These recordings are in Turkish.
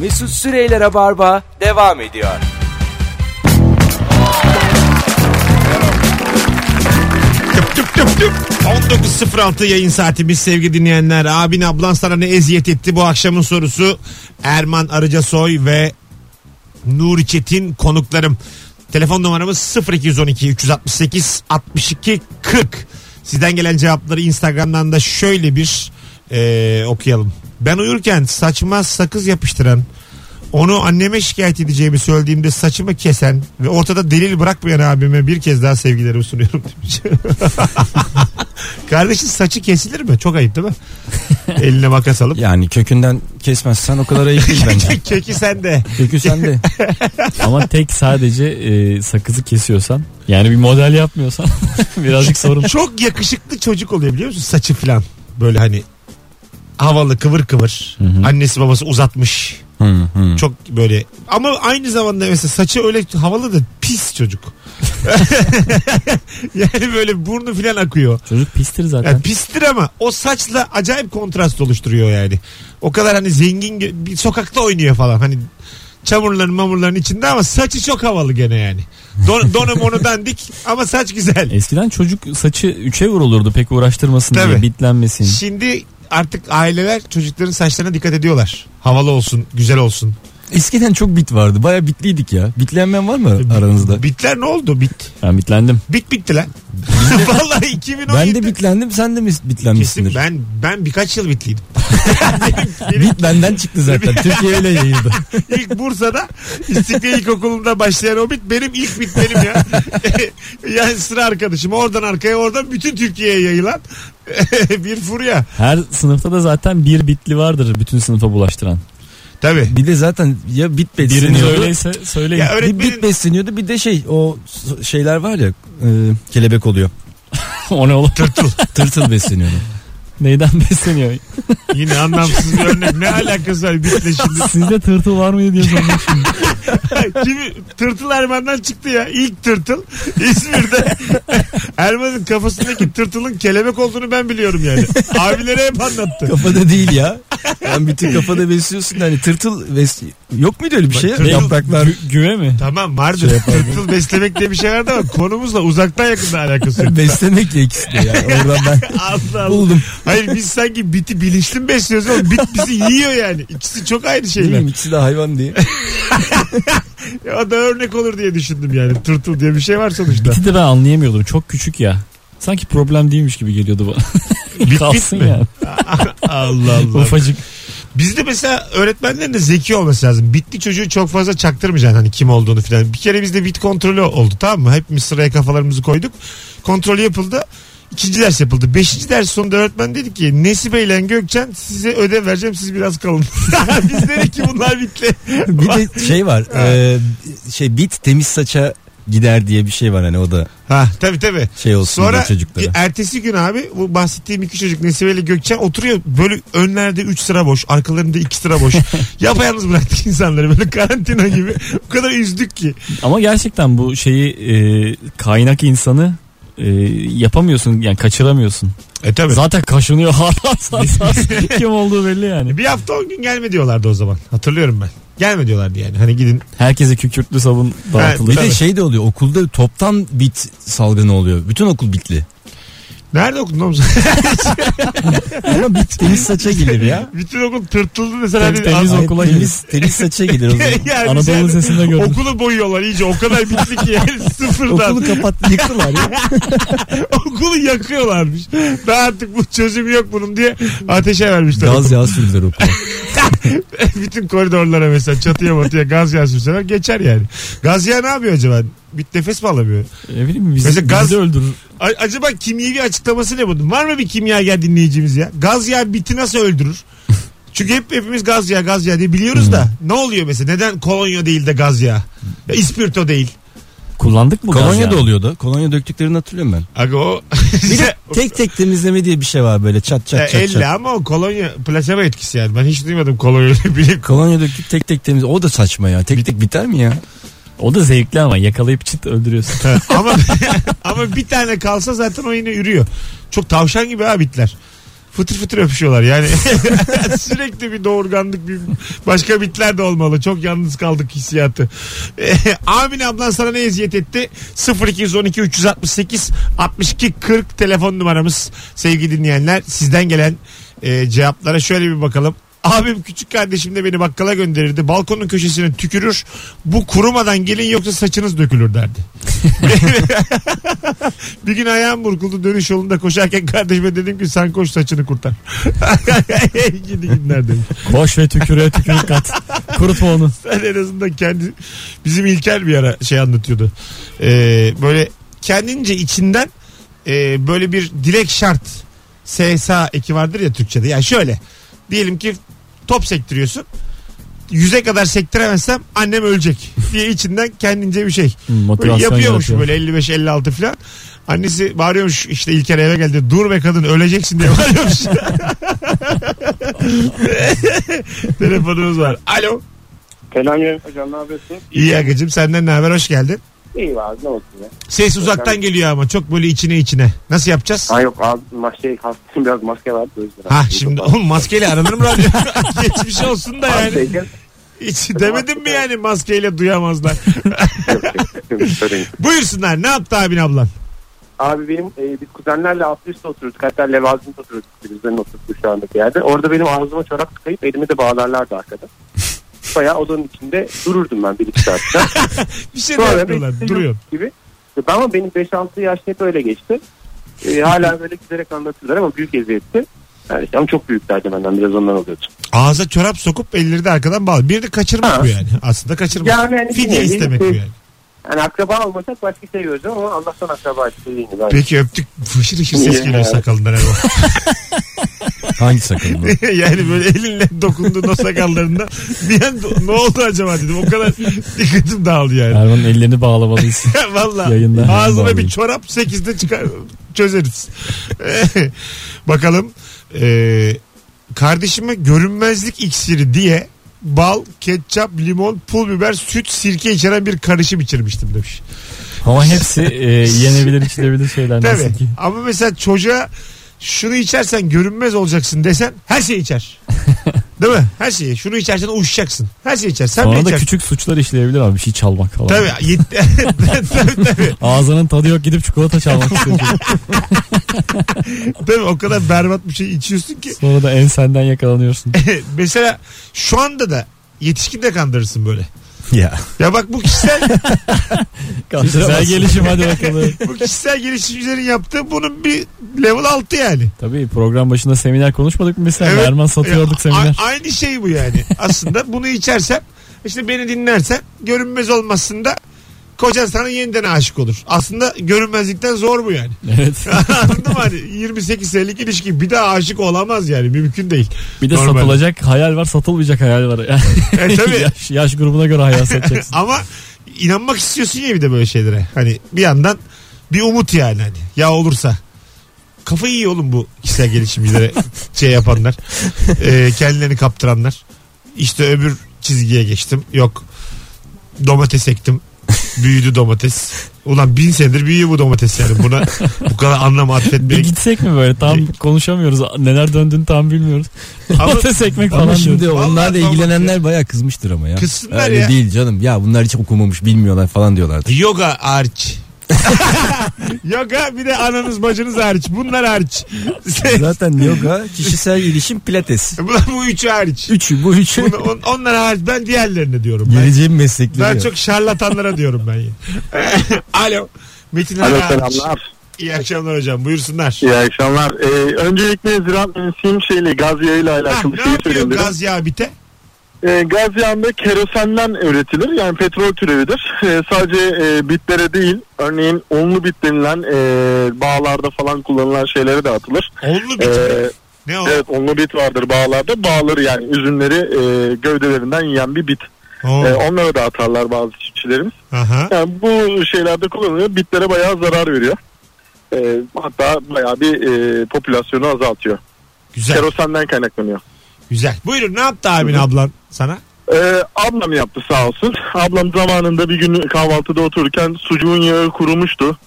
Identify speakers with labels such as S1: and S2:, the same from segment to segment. S1: Mesut Süreyler'e barba devam ediyor.
S2: Tüp tüp tüp tüp. 19.06 yayın saatimiz sevgili dinleyenler. Abin ablan sana ne eziyet etti bu akşamın sorusu. Erman Arıcasoy ve Nuri Çetin konuklarım. Telefon numaramız 0212 368 62 40. Sizden gelen cevapları Instagram'dan da şöyle bir e, okuyalım. Ben uyurken saçma sakız yapıştıran, onu anneme şikayet edeceğimi söylediğimde saçımı kesen ve ortada delil bırakmayan abime bir kez daha sevgilerimi sunuyorum demiş. Kardeşin saçı kesilir mi? Çok ayıp değil mi? Eline makas alıp.
S3: Yani kökünden kesmezsen o kadar ayıp değil bence.
S2: Keki sende.
S3: Kökü sende.
S4: Ama tek sadece e, sakızı kesiyorsan yani bir model yapmıyorsan birazcık sorun.
S2: Çok yakışıklı çocuk oluyor biliyor musun? Saçı falan. Böyle hani havalı kıvır kıvır. Annesi babası uzatmış.
S3: Hı, hı.
S2: Çok böyle ama aynı zamanda mesela saçı öyle havalı da pis çocuk. yani böyle burnu falan akıyor.
S4: Çocuk pistir zaten.
S2: Yani pistir ama o saçla acayip kontrast oluşturuyor yani. O kadar hani zengin gö- bir sokakta oynuyor falan. Hani çamurların mamurların içinde ama saçı çok havalı gene yani. Don, donu monu dandik ama saç güzel.
S4: Eskiden çocuk saçı üçe vurulurdu pek uğraştırmasın
S2: Tabii.
S4: diye bitlenmesin.
S2: Şimdi artık aileler çocukların saçlarına dikkat ediyorlar. Havalı olsun, güzel olsun.
S3: Eskiden çok bit vardı. Baya bitliydik ya. Bitlenmeyen var mı aranızda?
S2: Bitler ne oldu? Bit.
S4: E, Ben bitlendim.
S2: Bit bitti lan. Vallahi 2017.
S3: Ben de bitlendim sen de mi
S2: Kesin
S3: bitlenmişsindir?
S2: ben ben birkaç yıl bitliydim.
S3: Bit benden çıktı zaten. Türkiye öyle yayıldı.
S2: İlk Bursa'da İstiklal İlkokulu'nda başlayan o bit benim ilk bit benim ya. yani sıra arkadaşım oradan arkaya oradan bütün Türkiye'ye yayılan bir furya.
S4: Her sınıfta da zaten bir bitli vardır bütün sınıfa bulaştıran.
S2: Tabii.
S3: Bir de zaten ya bit
S4: Biriniz
S3: besleniyordu.
S4: öyleyse söyleyin.
S2: Ya
S3: Bir
S2: öğretmenin
S3: bit besleniyordu bir de şey o s- şeyler var ya e, kelebek oluyor.
S4: Ee, o ne oğlum?
S2: tırtıl.
S3: Tırtıl besleniyordu.
S4: Neyden besleniyor?
S2: Yine anlamsız bir örnek. Ne alakası var bitle şimdi?
S4: Sizde tırtıl var mıydı diye sormuş.
S2: Kimi tırtıl Erman'dan çıktı ya. İlk tırtıl İzmir'de. Erman'ın kafasındaki tırtılın kelebek olduğunu ben biliyorum yani. Abilere hep anlattı.
S3: Kafada değil ya. Yani bütün kafada besliyorsun da hani tırtıl bes yok muydu öyle bir şey? ya?
S2: Tırtıl-
S3: Yapraklar.
S4: Gü- güve mi?
S2: Tamam vardır. tırtıl beslemek diye bir şey vardı ama konumuzla uzaktan yakında alakası yok.
S3: Beslemek ya ikisi de yani. Oradan ben
S2: Allah Allah.
S3: buldum.
S2: Hayır biz sanki biti bilinçli mi besliyoruz oğlum? Bit bizi yiyor yani. İkisi çok aynı şeyler.
S3: Bilmiyorum ikisi de hayvan diye.
S2: O da örnek olur diye düşündüm yani. Tırtıl diye bir şey var sonuçta.
S4: Biti de ben anlayamıyordum. Çok küçük ya. Sanki problem değilmiş gibi geliyordu bana. Kalsın
S2: mi?
S4: ya.
S2: Allah Allah.
S4: Ufacık.
S2: Bizde mesela öğretmenlerin de zeki olması lazım. Bitli çocuğu çok fazla çaktırmayacaksın hani kim olduğunu filan. Bir kere bizde bit kontrolü oldu tamam mı? Hepimiz sıraya kafalarımızı koyduk. Kontrol yapıldı. İkinci ders yapıldı. Beşinci ders sonunda öğretmen dedi ki Nesibe ile Gökçen size ödev vereceğim siz biraz kalın. Biz dedik ki bunlar bitli.
S3: Bir de şey var. e, şey bit temiz saça gider diye bir şey var hani o da
S2: Ha tabii tabii.
S3: şey olsun
S2: Sonra
S3: diye çocuklara.
S2: bir ertesi gün abi bu bahsettiğim iki çocuk Nesibe ile Gökçen oturuyor böyle önlerde 3 sıra boş arkalarında 2 sıra boş. Yapayalnız bıraktık insanları böyle karantina gibi. O kadar üzdük ki.
S4: Ama gerçekten bu şeyi e, kaynak insanı e, yapamıyorsun yani kaçıramıyorsun.
S2: E tabii.
S4: Zaten kaşınıyor hassas hassas. Kim olduğu belli yani.
S2: Bir hafta 10 gün gelme diyorlardı o zaman. Hatırlıyorum ben. Gelme diyorlardı yani. Hani gidin.
S4: Herkese kükürtlü sabun dağıtılır.
S3: Bir
S2: Tabii.
S3: de şey de oluyor okulda toptan bit salgını oluyor. Bütün okul bitli.
S2: Nerede okudun oğlum sen?
S3: Ama bit temiz saça gelir ya.
S2: Bütün okul tırtıldı mesela.
S4: Tem-
S2: Hani,
S4: temiz
S2: an-
S3: Ay,
S4: okula
S3: temiz, temiz saça gelir o zaman.
S2: Yani
S4: Anadolu
S2: sen-
S4: Lisesi'nde gördüm.
S2: Okulu boyuyorlar iyice. O kadar bitli ki yani sıfırdan.
S3: Okulu
S2: Okulu,
S3: kapat yıktılar ya.
S2: yakıyorlarmış. Daha artık bu çözüm yok bunun diye ateşe vermişler.
S3: Gaz yağı sürdüler okula.
S2: Bütün koridorlara mesela çatıya batıya gaz yağı sürseler geçer yani. Gaz yağı ne yapıyor acaba? Bir nefes mi alamıyor?
S4: Ne E, bileyim bizi,
S2: Mesela gaz-
S4: bizi de öldürür.
S2: A- acaba kimyevi açıklaması ne bunun? Var mı bir kimyager dinleyicimiz ya? Gaz yağı biti nasıl öldürür? Çünkü hep hepimiz gaz yağı gaz yağı diye biliyoruz da
S3: Hmm.
S2: ne oluyor mesela? Neden kolonya değil de gaz yağı? Ya ispirto değil.
S4: Kullandık mı gaz
S3: Kolonya
S4: ya?
S3: da oluyordu. Kolonya döktüklerini hatırlıyorum ben.
S2: Aga o
S3: Bir de tek tek temizleme diye bir şey var böyle çat
S2: E,
S3: çat çat
S2: elle
S3: çat.
S2: ama o kolonya plasebo etkisi yani. Ben hiç duymadım kolonya bile.
S3: Kolonya döktük tek tek temiz. O da saçma ya. Tek tek biter mi ya?
S4: O da zevkli ama yakalayıp çıt öldürüyorsun.
S2: ama ama bir tane kalsa zaten o yine ürüyor. Çok tavşan gibi ha bitler. fıtır fıtır öpüşüyorlar yani. Sürekli bir doğurganlık bir başka bitler de olmalı. Çok yalnız kaldık hissiyatı. Amin ablan sana ne eziyet etti? 0212 368 62 40 telefon numaramız sevgili dinleyenler. Sizden gelen e, cevaplara şöyle bir bakalım. Abim küçük kardeşim de beni bakkala gönderirdi. Balkonun köşesine tükürür. Bu kurumadan gelin yoksa saçınız dökülür derdi. bir gün ayağım burkuldu dönüş yolunda koşarken kardeşime dedim ki sen koş saçını kurtar. Gidi günler dedim.
S4: Koş ve tüküre tükürük kat. Kurutma onu.
S2: Sen en azından kendi bizim İlker bir ara şey anlatıyordu. Ee, böyle kendince içinden e, böyle bir dilek şart SSA eki vardır ya Türkçe'de. Yani şöyle diyelim ki top sektiriyorsun. Yüze kadar sektiremezsem annem ölecek diye içinden kendince bir şey.
S4: Hı,
S2: Böyle
S4: Hmm, Motivasyon
S2: yapıyormuş
S4: yaratıyor.
S2: böyle 55-56 falan. Annesi bağırıyormuş işte İlker eve geldi dur be kadın öleceksin diye bağırıyormuş. Telefonumuz var. Alo.
S5: Selam hocam ne yapıyorsun?
S2: İyi Agacım senden ne haber hoş geldin.
S5: İyi abi ne olsun ya.
S2: Ses uzaktan geliyor ama çok böyle içine içine. Nasıl yapacağız?
S5: Ha yok abi maske hastayım biraz maske vardı. o yüzden.
S2: Ha şimdi oğlum maskeyle aranır mı radyo? Geçmiş olsun da
S5: Abi şey
S2: yani.
S5: şeyken-
S2: Hiç demedim mi yani maskeyle duyamazlar.
S5: Yok, yok, yok, sorun yok.
S2: Buyursunlar ne yaptı abin ablan?
S5: Abi benim e, biz kuzenlerle alt üstte oturuyorduk. Hatta Levazim'de oturuyorduk. Bizlerin oturduğu şu andaki yerde. Orada benim ağzıma çorap tıkayıp elimi de bağlarlardı arkada. Bayağı odanın içinde dururdum ben bir iki saat. falan.
S2: Bir şey de
S5: Sonra bir
S2: yapmıyorlar
S5: işte
S2: duruyor.
S5: yok Gibi. Ama benim 5-6 yaş hep öyle geçti. E, hala böyle giderek anlatırlar ama büyük eziyetti. Yani, ama çok büyüklerdi benden biraz ondan oluyordu.
S2: Ağza çorap sokup elleri de arkadan bağlı. Bir de kaçırmak
S5: Ha.
S2: bu yani. Aslında kaçırmak.
S5: Yani hani
S2: Fidye
S5: bilmiyorum,
S2: istemek bu
S5: şey-
S2: yani.
S5: Yani akraba olmasak başka şey göreceğim ama Allah'tan akraba işte değil mi? Ben-
S2: Peki öptük. Fışır fışır ses
S5: Yani.
S2: geliyor sakalından Erol.
S3: Hangi sakın bu?
S2: yani böyle elinle dokunduğun o sakallarında bir an ne oldu acaba dedim. O kadar dikkatim dağıldı yani.
S4: Erman'ın ellerini bağlamalıyız.
S2: Valla
S4: Yayında.
S2: ağzına bir
S4: Vallahi.
S2: çorap 8'de çıkar çözeriz. Bakalım ee, kardeşime görünmezlik iksiri diye bal, ketçap, limon, pul biber, süt, sirke içeren bir karışım içirmiştim demiş.
S4: Ama hepsi e, yenebilir içilebilir şeyler
S2: Tabii
S4: nasıl ki.
S2: ama mesela çocuğa şunu içersen görünmez olacaksın desen her şeyi içer. Değil mi? Her şeyi. Şunu içersen uyuşacaksın. Her şeyi içer. Sen bile
S4: Sonra da
S2: içersin.
S4: küçük suçlar işleyebilir abi bir şey çalmak falan.
S2: Tabii. Yet- tabii, tabii.
S4: Ağzının tadı yok gidip çikolata çalmak istiyor. çocuk.
S2: Tabii o kadar berbat bir şey içiyorsun ki
S4: Sonra da ensenden yakalanıyorsun.
S2: mesela şu anda da yetişkin de kandırırsın böyle.
S3: ya.
S2: Ya bak bu kişisel
S4: Güzel gelişim hadi bakalım.
S2: bu kişisel gelişimcilerin yaptığı bunun bir level altı yani.
S4: Tabii program başında seminer konuşmadık mı biz sen? Erman satıyorduk
S2: Ya, a-
S4: seminer.
S2: aynı şey bu yani. Aslında bunu içersen işte beni dinlersen görünmez olmasın da kocan sana yeniden aşık olur. Aslında görünmezlikten zor bu yani.
S4: Evet.
S2: Anladın mı? Hani 28 senelik ilişki bir daha aşık olamaz yani mümkün değil.
S4: Bir de
S2: Normal.
S4: satılacak hayal var, satılmayacak hayal var. Yani
S2: E, tabii.
S4: yaş, yaş grubuna göre hayal satacaksın.
S2: Ama inanmak istiyorsun ya bir de böyle şeylere. Hani bir yandan bir umut yani hani. Ya olursa. Kafayı iyi oğlum bu kişisel gelişimcilere şey yapanlar. Ee, kendilerini kaptıranlar. İşte öbür çizgiye geçtim. Yok domates ektim. Büyüdü domates. Ulan bin senedir büyüyor bu domates yani. Buna bu kadar anlam
S4: Bir
S2: atfetmeyin.
S4: gitsek mi böyle tam konuşamıyoruz. Neler döndüğünü tam bilmiyoruz.
S2: Ama
S4: Patates ekmek
S3: Ama
S4: falan
S3: şimdi
S4: diyoruz.
S3: onlarla
S2: Vallahi
S3: ilgilenenler bayağı kızmıştır ama ya.
S2: Kızsınlar
S3: Öyle
S2: ya.
S3: değil canım. Ya bunlar hiç okumamış bilmiyorlar falan diyorlardı.
S2: Yoga hariç. Yoga bir de ananız bacınız hariç. Bunlar hariç.
S3: Zaten yoga, kişisel gelişim, pilates.
S2: Ulan bu üçü hariç.
S3: Üçü bu üçü.
S2: Bunu- on, onlara hariç ben diğerlerine diyorum. Ben,
S3: Geleceğin meslekleri.
S2: ben
S3: yok.
S2: çok şarlatanlara diyorum ben. ya. Alo. Metin
S6: Alo
S2: Alo,
S6: selamlar.
S2: İyi akşamlar hocam. Buyursunlar.
S6: İyi akşamlar. Ee, öncelikle ziraat mühendisiyim şeyle gaz yağıyla
S2: Ha,
S6: alakalı
S2: ne
S6: şey
S2: yapıyor
S6: söyleyeyim dedim.
S2: gaz yağı bite?
S6: Ee, gaz yağında kerosenden üretilir yani petrol türevidir. Ee, sadece e, bitlere değil örneğin onlu bit denilen e, bağlarda falan kullanılan şeylere de atılır.
S2: Onlu bit mi?
S6: Ee,
S2: Ne o?
S6: evet onlu bit vardır bağlarda bağları yani üzümleri e, gövdelerinden yiyen bir bit.
S2: Oo,
S6: Ee, onlara da atarlar bazı çiftçilerimiz.
S2: Aha.
S6: Yani bu şeylerde kullanılıyor. Bitlere bayağı zarar veriyor. Ee, hatta bayağı bir e, popülasyonu azaltıyor.
S2: Güzel.
S6: Kerosenden kaynaklanıyor.
S2: Güzel. Buyurun ne yaptı abin ablan sana?
S6: Ee, ablam yaptı sağ olsun. Ablam zamanında bir gün kahvaltıda otururken sucuğun yağı kurumuştu.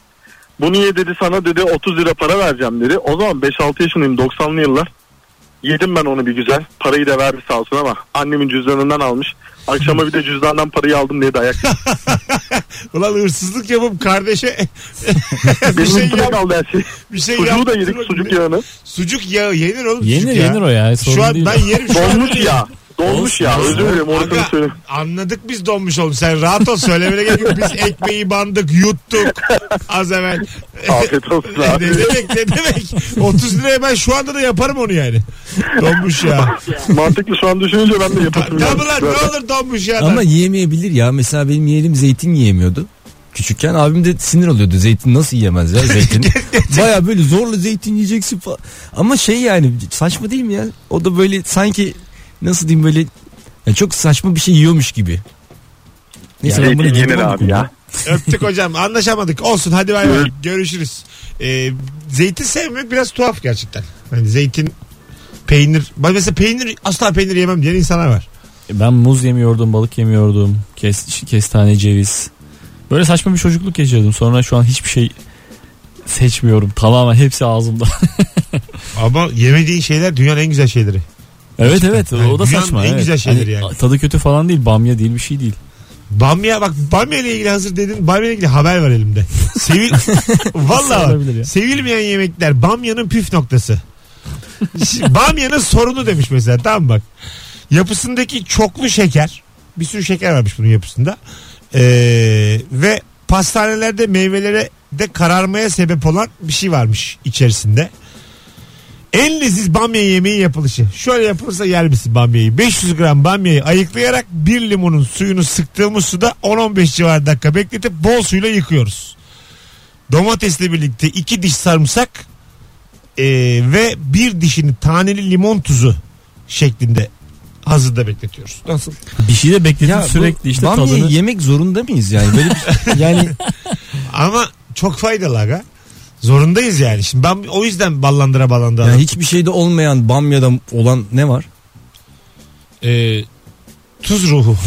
S6: Bunu ye dedi sana dedi 30 lira para vereceğim dedi. O zaman 5-6 yaşındayım 90'lı yıllar. Yedim ben onu bir güzel. Parayı da verdi sağ olsun ama annemin cüzdanından almış. Akşama bir de cüzdandan parayı aldım diye dayak.
S2: Ulan hırsızlık yapıp kardeşe bir
S6: Benim
S2: şey,
S6: üstüme
S2: yap,
S6: kaldı her şey.
S2: bir şey
S6: Sucuğu da
S2: yaptırma-
S6: yedik sucuk yağını.
S2: Sucuk yağı yenir oğlum.
S4: Yenir
S2: sucuk
S4: yenir o ya. Sorun
S2: Şu an
S4: değil.
S2: ben yerim. Şu an-
S6: Dolmuş ya. Dolmuş ya. Özür dilerim orasını
S2: Aga,
S6: söyleyeyim.
S2: anladık biz donmuş oğlum sen rahat ol söylemene gerek yok biz ekmeği bandık yuttuk az evvel
S6: Afiyet olsun
S2: ne
S6: abi.
S2: demek ne demek 30 liraya ben şu anda da yaparım onu yani donmuş ya
S6: Mantıklı şu an düşününce ben de yapasım.
S2: tamam lan
S6: geldi.
S2: ne olur donmuş ya
S3: Ama yiyemeyebilir ya. Mesela benim yeğenim zeytin yiyemiyordu. Küçükken abim de sinir oluyordu. Zeytin nasıl yiyemez ya zeytin. Baya böyle zorla zeytin yiyeceksin falan. Ama şey yani saçma değil mi ya? O da böyle sanki nasıl diyeyim böyle ya çok saçma bir şey yiyormuş gibi. Neyse ben bunu
S6: Zeytin yenir
S3: yedim ama
S6: şey, abi ya.
S2: öptük hocam anlaşamadık olsun hadi bay bay görüşürüz Ee, zeytin sevmek biraz tuhaf gerçekten hani zeytin peynir ben mesela peynir asla peynir yemem diyen insanlar var
S4: Ben muz yemiyordum, balık yemiyordum. Kes, kestane, ceviz. Böyle saçma bir çocukluk geçirdim. Sonra şu an hiçbir şey seçmiyorum. Tamamen hepsi ağzımda.
S2: ama yemediğin şeyler dünyanın en güzel şeyleri
S4: evet evet
S2: Yani
S4: o da
S2: dünyanın
S4: saçma.
S2: en
S4: evet. Hani
S2: güzel şeyleri yani.
S4: Tadı kötü falan değil, bamya değil bir şey değil.
S2: Bamya bak bamya ile ilgili hazır dedin. Bamya ile ilgili haber var elimde. Sevil Vallahi
S4: Olabilir ya.
S2: bak, sevilmeyen yemekler bamyanın püf noktası. Şimdi bamyanın sorunu demiş mesela tamam bak. Yapısındaki çoklu şeker. Bir sürü şeker varmış bunun yapısında. Ee, ve pastanelerde meyvelere de kararmaya sebep olan bir şey varmış içerisinde. En leziz bamya yemeği yapılışı. Şöyle yapılırsa yer misin bamyayı? 500 gram bamyayı ayıklayarak bir limonun suyunu sıktığımız suda 10-15 civarı dakika bekletip bol suyla yıkıyoruz. Domatesle birlikte iki diş sarımsak e, ve bir dişini taneli limon tuzu şeklinde hazırda bekletiyoruz. Nasıl?
S4: Bir şey de bekledim
S3: Ya bu
S4: sürekli işte
S3: bamya
S4: tadını.
S3: yemek zorunda mıyız yani? Böyle bir, yani
S2: Ama çok faydalı aga. Zorundayız yani. Şimdi ben o yüzden ballandıra ballandıra.
S3: yani hiçbir şeyde olmayan bamyada olan ne var?
S4: Ee,
S2: E, tuz ruhu.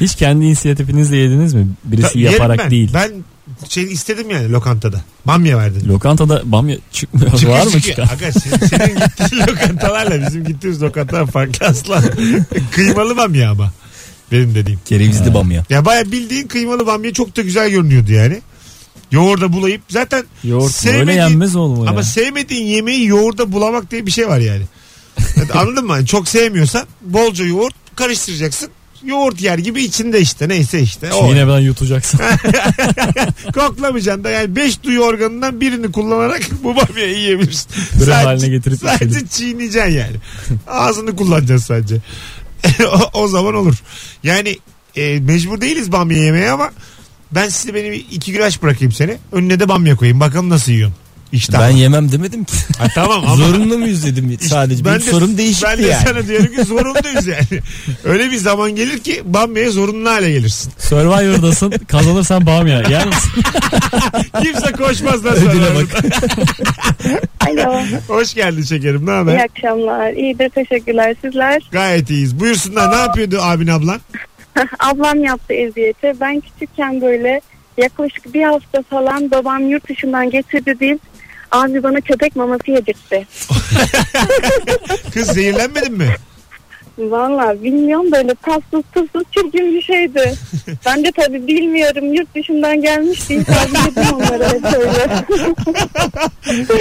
S4: Hiç kendi inisiyatifinizle yediniz mi? Birisi
S2: Ta- yerim
S4: yaparak
S2: ben.
S4: değil.
S2: Ben şey istedim yani lokantada. Bamya verdin.
S4: Lokantada bamya çıkmıyor. Var mı çıkan?
S2: Aga sen- senin gittiğin lokantalarla bizim gittiğimiz lokantalar farklı asla. kıymalı bamya ama. Benim dediğim.
S3: Kerevizli bamya.
S2: Ya baya bildiğin kıymalı bamya çok da güzel görünüyordu yani. Yoğurda bulayıp zaten
S4: Yoğurt mu? öyle
S2: Sevmediğin-
S4: yenmez oğlum o ya.
S2: ama sevmediğin yemeği yoğurda bulamak diye bir şey var yani. Yani Anladın mı? Hani Çok sevmiyorsan bolca yoğurt karıştıracaksın. Yoğurt yer gibi içinde işte neyse işte. O.
S4: Yine ben yutacaksın.
S2: Koklamayacaksın da yani 5 duyu organından birini kullanarak bu bamyayı yiyebilirsin.
S4: Bre haline getirip
S2: sadece
S4: yiyelim.
S2: çiğneyeceksin yani. Ağzını kullanacaksın sadece. o, o zaman olur. Yani e, mecbur değiliz bamya yemeye ama ben size benim iki güreş bırakayım seni. Önüne de bamya koyayım. Bakalım nasıl yiyorsun. İşte
S3: Ben yemem demedim ki.
S2: tamam ama
S3: Zorunlu muyuz dedim sadece.
S2: ben
S3: Benim
S2: de-
S3: sorum değişikti
S2: ben de
S3: yani.
S2: sana diyorum ki zorundayız yani. Öyle bir zaman gelir ki bamyaya zorunlu hale gelirsin.
S4: Survivor'dasın. Kazanırsan bamya. Yer misin?
S2: Kimse koşmaz lan
S3: Ödüle
S2: sonra.
S3: bak.
S7: Alo.
S2: Hoş geldin şekerim. Ne haber?
S7: İyi akşamlar. İyidir teşekkürler sizler.
S2: Gayet iyiyiz. Buyursunlar ne yapıyordu abin ablan?
S7: Ablam yaptı eziyeti. Ben küçükken böyle yaklaşık bir hafta falan babam yurt dışından getirdi değil. Abi bana köpek maması yedirtti.
S2: Kız zehirlenmedin mi?
S7: Valla bilmiyorum böyle tatsız tuzsuz çirkin bir şeydi. Ben de tabii bilmiyorum yurt dışından gelmişti. İnsan yedim onları hep böyle.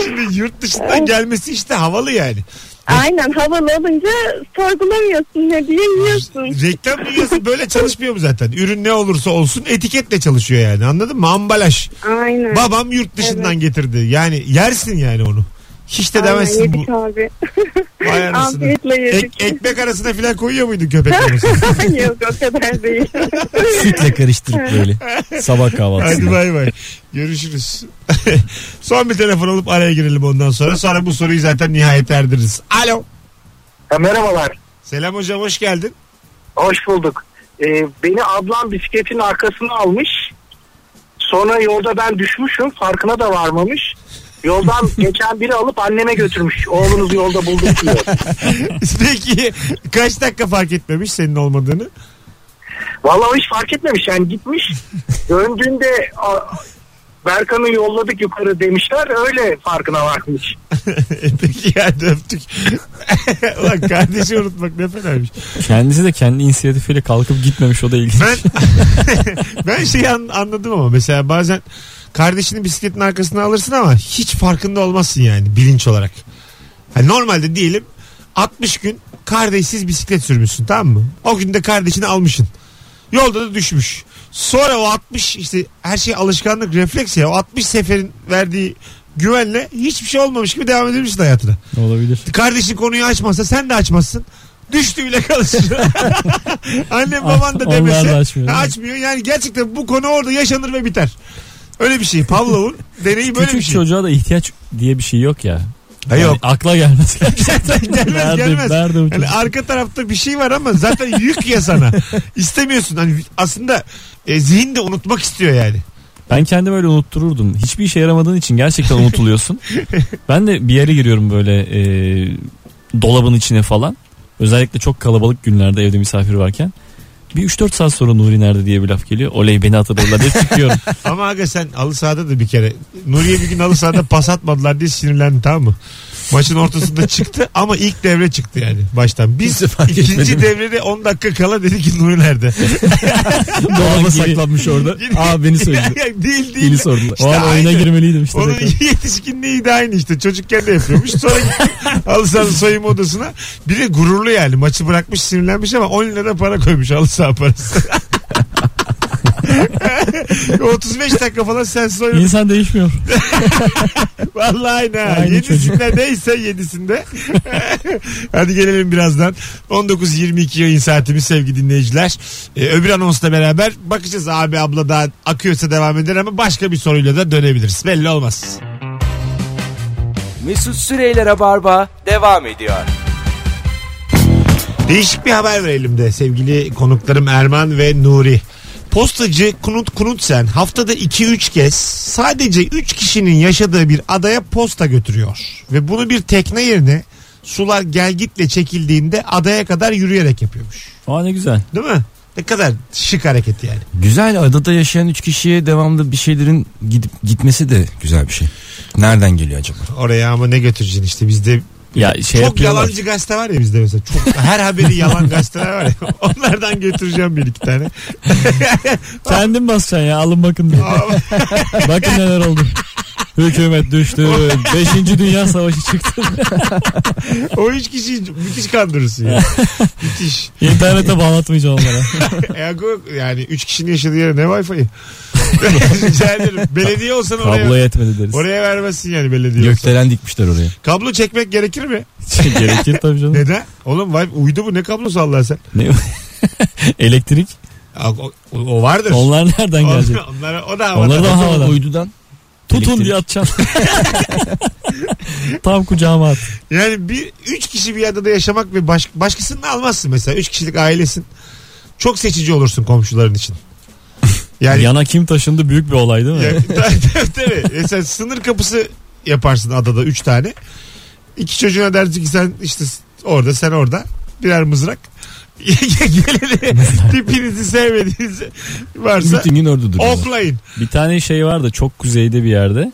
S2: Şimdi yurt dışından gelmesi işte havalı yani.
S7: Aynen havalı olunca sorgulamıyorsun ne diye yiyorsun.
S2: Reklam dünyası böyle çalışmıyor mu zaten? Ürün ne olursa olsun etiketle çalışıyor yani anladın mı? Ambalaj.
S7: Aynen.
S2: Babam yurt dışından getirdi. Yani yersin yani onu. Hiç de
S7: Aynen
S2: demezsin bu.
S7: yedik abi.
S2: Vay anasını.
S7: Afiyetle yedik.
S2: Ek- ekmek arasına filan koyuyor muydun köpek mamasını?
S7: Yok o kadar değil.
S3: Sütle karıştırıp böyle. Sabah
S2: Hadi
S3: kahvaltısında.
S2: bay bay. Görüşürüz. Son bir telefon alıp araya girelim ondan sonra. Sonra bu soruyu zaten nihayet erdiririz. Alo.
S8: Ha, merhabalar.
S2: Selam hocam hoş geldin.
S8: Hoş bulduk. Ee, beni ablam bisikletin arkasına almış. Sonra yolda ben düşmüşüm. Farkına da varmamış. Yoldan geçen biri alıp anneme götürmüş. Oğlunuzu yolda bulduk diyor.
S2: Peki kaç dakika fark etmemiş senin olmadığını?
S8: Vallahi o hiç fark etmemiş yani gitmiş. Döndüğünde a- Berkan'ı yolladık yukarı demişler öyle farkına varmış.
S2: E Peki ya öptük. Ulan kardeşi unutmak ne fenaymış.
S4: Kendisi de kendi inisiyatifiyle kalkıp gitmemiş o da ilginç.
S2: Ben ben şeyi an- anladım ama mesela bazen kardeşini bisikletin arkasına alırsın ama hiç farkında olmazsın yani bilinç olarak. Hani normalde diyelim 60 gün kardeşsiz bisiklet sürmüşsün tamam mı? O gün de kardeşini almışsın. Yolda da düşmüş. Sonra o 60 işte her şey alışkanlık refleks ya. O 60 seferin verdiği güvenle hiçbir şey olmamış gibi devam edebilirsin hayatına.
S4: Olabilir.
S2: Kardeşin konuyu açmazsa sen de açmazsın. Düştü bile kalırsın. Annem baban da
S4: Onlar da
S2: demese.
S4: açmıyor.
S2: Ha, açmıyor. Yani gerçekten bu konu orada yaşanır ve biter. Öyle bir şey. Pavlov'un deneyi böyle
S4: Küçük
S2: bir şey.
S4: çocuğa da ihtiyaç diye bir şey yok ya.
S2: Ha, yok.
S4: Yani akla gelmez.
S2: gelmez
S4: Nerede-
S2: gelmez.
S4: nerede bu
S2: yani
S4: çocuk?
S2: arka tarafta bir şey var ama zaten yük ya sana. İstemiyorsun. Hani aslında e, zihin de unutmak istiyor yani.
S4: Ben kendimi öyle unuttururdum. Hiçbir işe yaramadığın için gerçekten unutuluyorsun. ben de bir yere giriyorum böyle e, dolabın içine falan. Özellikle çok kalabalık günlerde evde misafir varken. Bir 3-4 saat sonra Nuri nerede diye bir laf geliyor. Oley beni hatırladılar diye çıkıyorum.
S2: Ama aga sen halı sahada da bir kere Nuriye bir gün halı sahada pas atmadılar diye sinirlendi tamam mı? Maçın ortasında çıktı ama ilk devre çıktı yani baştan. Biz
S3: Kimse fark etmedi
S2: ikinci
S3: mi?
S2: devrede 10 dakika kala dedi ki Nuri nerede?
S4: Doğan
S3: Dolaba
S4: gibi.
S3: saklanmış orada. Aa beni söyledi.
S2: değil değil.
S4: Beni sordular.
S2: İşte
S4: o an oyuna
S2: aynı.
S4: girmeliydim işte.
S2: Onun
S4: tekrar.
S2: yetişkinliği de aynı işte. Çocukken de yapıyormuş. Sonra gitti halı sahanın soyunma odasına. Bir de gururlu yani. Maçı bırakmış sinirlenmiş ama 10 lira para koymuş halı saha parası. 35 dakika falan sen soyun.
S4: İnsan değişmiyor.
S2: Vallahi aynı. ha.
S4: Aynı
S2: yedisinde neyse yedisinde. Hadi gelelim birazdan. 19.22 yayın saatimiz sevgili dinleyiciler. Ee, öbür anonsla beraber bakacağız abi abla daha akıyorsa devam eder ama başka bir soruyla da dönebiliriz. Belli olmaz.
S1: Mesut Süreyler'e barba devam ediyor.
S2: Değişik bir haber verelim de sevgili konuklarım Erman ve Nuri. Postacı Kunut Kunutsen haftada 2-3 kez sadece 3 kişinin yaşadığı bir adaya posta götürüyor. Ve bunu bir tekne yerine sular gelgitle çekildiğinde adaya kadar yürüyerek yapıyormuş.
S4: Aa ne güzel.
S2: Değil mi? Ne kadar şık hareket yani.
S3: Güzel adada yaşayan üç kişiye devamlı bir şeylerin gidip gitmesi de güzel bir şey. Nereden geliyor acaba?
S2: Oraya ama ne götüreceksin işte bizde
S4: Ya şey
S2: çok
S4: yapıyorlar.
S2: yalancı gazete var ya bizde mesela. Çok, her haberi yalan gazeteler var ya. Onlardan götüreceğim bir iki tane.
S4: Kendin basacaksın ya alın bakın diye. bakın neler oldu. Hükümet düştü. Beşinci Dünya Savaşı çıktı.
S2: o üç kişiyi müthiş kandırırsın ya. müthiş.
S4: İnternete bağlatmayacağım onlara.
S2: E, yok, yani üç kişinin yaşadığı yere ne wifi'yi? Rica ederim. Belediye olsan
S4: Kablo
S2: oraya,
S4: yetmedi deriz.
S2: oraya vermezsin yani belediye olsan.
S3: Gökdelen dikmişler oraya.
S2: Kablo çekmek gerekir mi?
S4: Gerekir tabii canım.
S2: Neden? Oğlum wifi uydu bu ne kablosu Allah sen?
S4: Ne? Elektrik.
S2: O, o- o vardır.
S4: Onlar nereden gelecek?
S2: Onlar, onlara- o da havada.
S4: Onları da havadan.
S3: Uydudan.
S4: Tutun diye atacağım. Tam kucağıma at.
S2: Yani bir üç kişi bir adada yaşamak ve baş, başkasını da almazsın mesela. Üç kişilik ailesin. Çok seçici olursun komşuların için. Yani
S4: Yana kim taşındı büyük bir olay değil mi?
S2: Ya, tabii, tabii, tabii. Mesela sınır kapısı yaparsın adada 3 tane. İki çocuğuna dersin ki sen işte orada sen orada birer mızrak. Geleni tipinizi sevmediğiniz varsa
S3: Bütün gün orada duruyorlar.
S2: oklayın.
S4: Bir tane şey vardı çok kuzeyde bir yerde.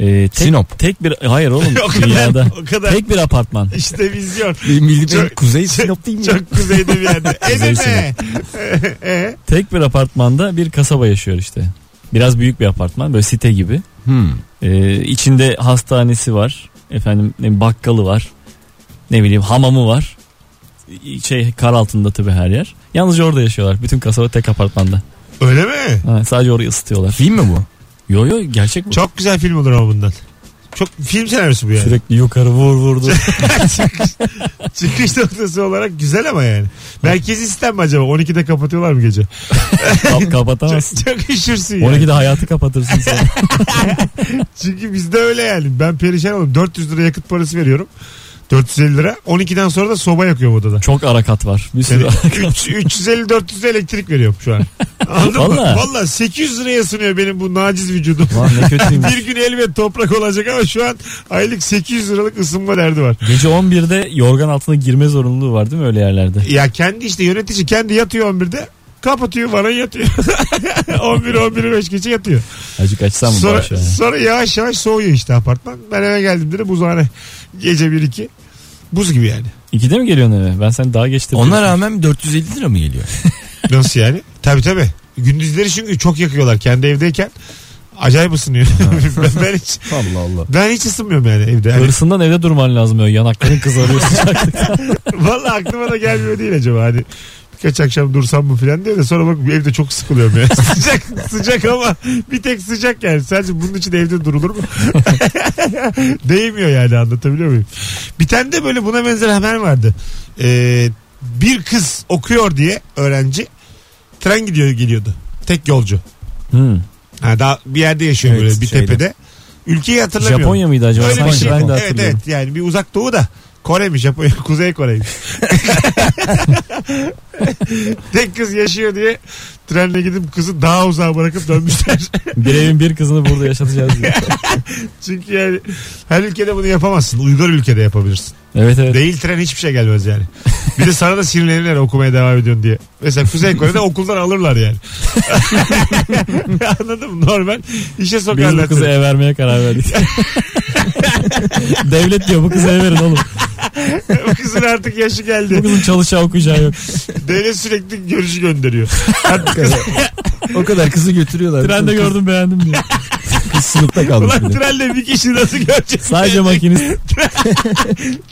S4: Ee, tek,
S3: Sinop.
S4: Tek bir hayır oğlum
S2: o kadar
S4: dünyada.
S2: o kadar
S4: Tek bir apartman.
S2: işte vizyon.
S3: Milli
S2: Çok-
S3: Kuzey
S4: Şey-
S3: Sinop değil mi? ya?
S2: Çok kuzeyde bir yerde. Edeme. E,
S4: Tek bir apartmanda bir kasaba yaşıyor işte. Biraz büyük bir apartman böyle site gibi.
S3: Hmm.
S4: Ee, içinde hastanesi var. Efendim ne bileyim, bakkalı var. Ne bileyim hamamı var. Şey kar altında tabii her yer. Yalnızca orada yaşıyorlar. Bütün kasaba tek apartmanda.
S2: öyle mi?
S4: Ha, sadece orayı ısıtıyorlar.
S3: Film mi bu?
S4: Yo yo gerçek bu.
S2: Çok güzel film olur ama bundan. Çok film senaryosu bu yani.
S4: Sürekli yukarı vur vurdu.
S2: Çıkış noktası olarak güzel ama yani. Merkezi sistem mi acaba? 12'de kapatıyorlar mı gece?
S4: Kap- kapatamazsın.
S2: Çok, çok üşürsün yani.
S4: 12'de hayatı kapatırsın sen.
S2: Çünkü bizde öyle yani. Ben perişan oldum. 400 lira yakıt parası veriyorum. 450 lira. 12'den sonra da soba yakıyorum odada.
S4: Çok arakat var. Bir sürü
S2: Yani
S4: arakat.
S2: 350-400 elektrik veriyorum şu an. Anladın mı?
S4: Vallahi.
S2: Valla 800 liraya sınıyor benim bu naciz vücudum.
S4: Lan ne kötüymüş.
S2: bir gün elbet toprak olacak ama şu an aylık 800 liralık ısınma derdi var.
S4: Gece 11'de yorgan altına girme zorunluluğu var değil mi öyle yerlerde?
S2: Ya kendi işte yönetici kendi yatıyor 11'de. Kapatıyor bana yatıyor. 11 11 5 geçe yatıyor.
S4: Azıcık açsam mı
S2: Sonra,
S4: bu aşağıya?
S2: sonra yavaş yavaş soğuyor işte apartman. Ben eve geldiğimde buzhane. Gece 1 2. Buz gibi yani.
S4: İkide mi geliyorsun eve? Ben sen daha geç de
S3: Ona
S4: biliyorsun.
S3: rağmen 450 lira mı geliyor?
S2: Nasıl yani? tabii tabii. Gündüzleri çünkü çok yakıyorlar kendi evdeyken. Acayip ısınıyor. ben, ben hiç
S3: Allah Allah.
S2: ben hiç ısınmıyorum yani evde. Hani Yani
S4: Hırsından evde durman lazım öyle yanakların kızarıyor sıcak.
S2: Valla aklıma da gelmiyor değil acaba hani birkaç akşam dursam mı filan diye de sonra bak evde çok sıkılıyorum ya. sıcak sıcak ama bir tek sıcak yani. Sadece bunun için evde durulur mu? Değmiyor yani anlatabiliyor muyum? Bir tane de böyle buna benzer haber vardı. Ee, bir kız okuyor diye öğrenci tren gidiyor geliyordu. Tek yolcu.
S4: Hmm.
S2: Ha, daha bir yerde yaşıyor
S4: Evet,
S2: böyle bir
S4: şeyde.
S2: tepede. Ülkeyi hatırlamıyorum.
S4: Japonya mıydı acaba?
S2: Öyle bir
S4: Sanki
S2: şey.
S4: ben de
S2: Evet
S4: hatırlıyorum.
S2: evet yani bir uzak doğu da Kore'miş Japonya Kuzey Kore'ymiş. Tek kız yaşıyor diye trenle gidip kızı daha uzağa bırakıp dönmüşler.
S4: Bir evin bir kızını burada yaşatacağız diye.
S2: Çünkü yani her ülkede bunu yapamazsın. Uygar ülkede yapabilirsin.
S4: Evet evet.
S2: Değil tren hiçbir şey gelmez yani. Bir de sana da sinirlenirler okumaya devam ediyorsun diye. Mesela Kuzey Kore'de okuldan alırlar yani. Anladın mı? Normal işe
S4: Biz bu
S2: sokarlar.
S4: kızı
S2: seni.
S4: ev vermeye karar verdik. Devlet diyor bu kızı ev verin oğlum.
S2: Bu kızın artık yaşı
S4: Bu
S2: geldi.
S4: kızın çalışacağı okuyacağı yok.
S2: Devlet sürekli görüşü gönderiyor.
S3: O kadar kızı götürüyorlar.
S4: Trende gördüm beğendim diyor.
S3: Kız sınıfta kalmış
S2: Ulan
S3: bir de.
S2: trenle bir kişi nasıl göreceğiz?
S4: Sadece makinist,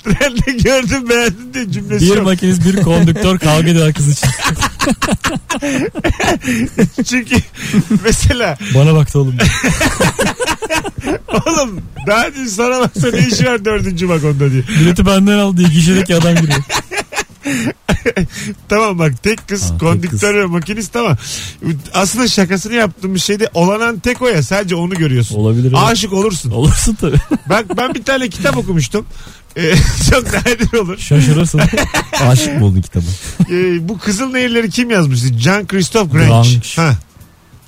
S2: trenle gördüm beğendim diye cümlesi
S4: bir
S2: yok.
S4: makinist, bir kondüktör kavga ediyor kız için.
S2: Çünkü mesela
S4: Bana baktı oğlum.
S2: oğlum daha dün sana baksa ne işi var dördüncü vagonda diye.
S4: Bileti benden aldı. İki kişilik adam giriyor.
S2: Tamam bak tek kız
S3: tek
S2: kondüktör ve makinist ama aslında şakasını yaptığımız şeyde olanan tek o ya sadece onu görüyorsun.
S4: Olabilir. evet.
S2: Aşık olursun.
S4: Olursun tabii.
S2: Ben, ben bir tane kitap okumuştum. Ee, çok nadir olur.
S4: Şaşırırsın.
S3: Aşık mı oldun kitabı?
S2: e, bu Kızıl Nehirleri kim yazmıştı? Jean Christophe Grange.
S4: Grange.
S2: Ha.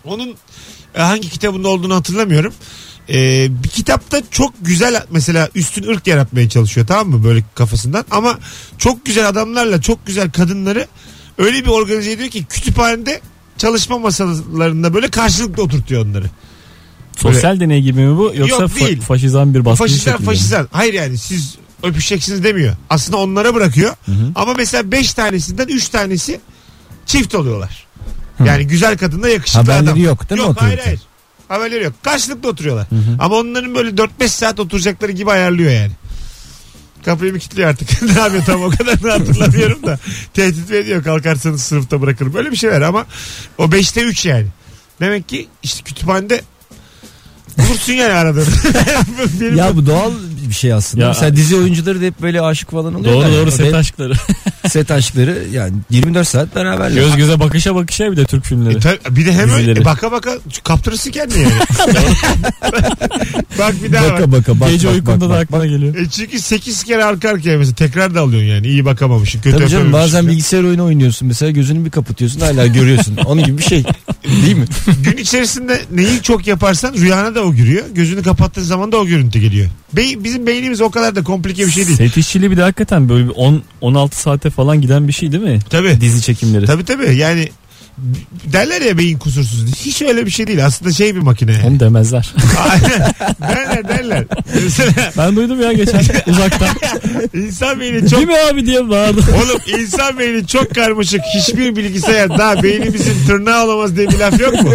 S2: Onun e, hangi kitabında olduğunu hatırlamıyorum. E, bir kitapta çok güzel mesela üstün ırk yaratmaya çalışıyor tamam mı böyle kafasından ama çok güzel adamlarla çok güzel kadınları öyle bir organize ediyor ki kütüphanede çalışma masalarında böyle karşılıklı oturtuyor onları.
S4: Sosyal deney gibi mi bu? Yoksa
S2: Yok,
S4: fa-
S2: değil.
S4: faşizan bir baskı
S2: Faşistler
S4: şekli mi?
S2: faşistler. Hayır yani siz öpüşeceksiniz demiyor. Aslında onlara bırakıyor. Ama mesela 5 tanesinden 3 tanesi çift oluyorlar. Yani güzel kadınla yakışıklı
S3: Haberleri
S2: adam.
S3: yok değil mi
S2: Yok hayır
S3: otorite?
S2: hayır. Haberleri yok. Karşılıklı oturuyorlar. Ama onların böyle 4-5 saat oturacakları gibi ayarlıyor yani. Kapıyı mı kilitliyor artık? ne yapıyor tam o kadar da hatırlamıyorum da. Tehdit mi ediyor kalkarsanız sınıfta bırakırım. Böyle bir şeyler ama o 5'te 3 yani. Demek ki işte kütüphanede bulursun yani aradığını. Benim
S3: Ya bu doğal bir şey aslında.
S4: Ya-
S3: Mesela dizi oyuncuları da hep böyle aşık falan oluyorlar.
S4: Doğru
S3: ya.
S4: doğru
S3: Ve
S4: set aşkları.
S3: set aşkları yani 24 saat beraberler.
S4: Göz göze bakışa bakışa bir de Türk filmleri.
S2: E tabii, bir de hem öyle-
S4: Dizileri.
S2: e, baka baka kaptırırsın kendini yani. bak bir daha bak.
S3: Baka baka bak
S4: Gece
S3: bak, bak,
S4: uykunda da
S3: bak.
S4: aklına geliyor.
S2: E çünkü 8 kere arka arkaya mesela tekrar da alıyorsun yani. İyi bakamamışsın, kötü
S3: E, Tabii canım
S2: öpememişsin.
S4: şey.
S3: bazen bilgisayar oyunu oynuyorsun mesela gözünü bir kapatıyorsun hala görüyorsun. Onun gibi bir şey değil mi?
S2: Gün içerisinde neyi çok yaparsan rüyana da o giriyor. Gözünü kapattığın zaman da o görüntü geliyor. Be- bizim beynimiz o kadar da komplike bir şey değil.
S4: Set işçiliği bir de hakikaten böyle bir 10 16 saate falan giden bir şey değil mi?
S2: Tabii.
S4: Dizi çekimleri.
S2: Tabii tabii yani derler ya beyin kusursuz. Hiç öyle bir şey değil. Aslında şey bir makine. yani.
S4: Onu demezler.
S2: Aynen. derler derler. Mesela
S4: ben duydum ya geçen uzaktan.
S2: insan beyni çok
S4: Değil mi abi diye bağırdı.
S2: Oğlum insan beyni çok karmaşık. Hiçbir bilgisayar daha beynimizin tırnağı olamaz diye bir laf yok mu?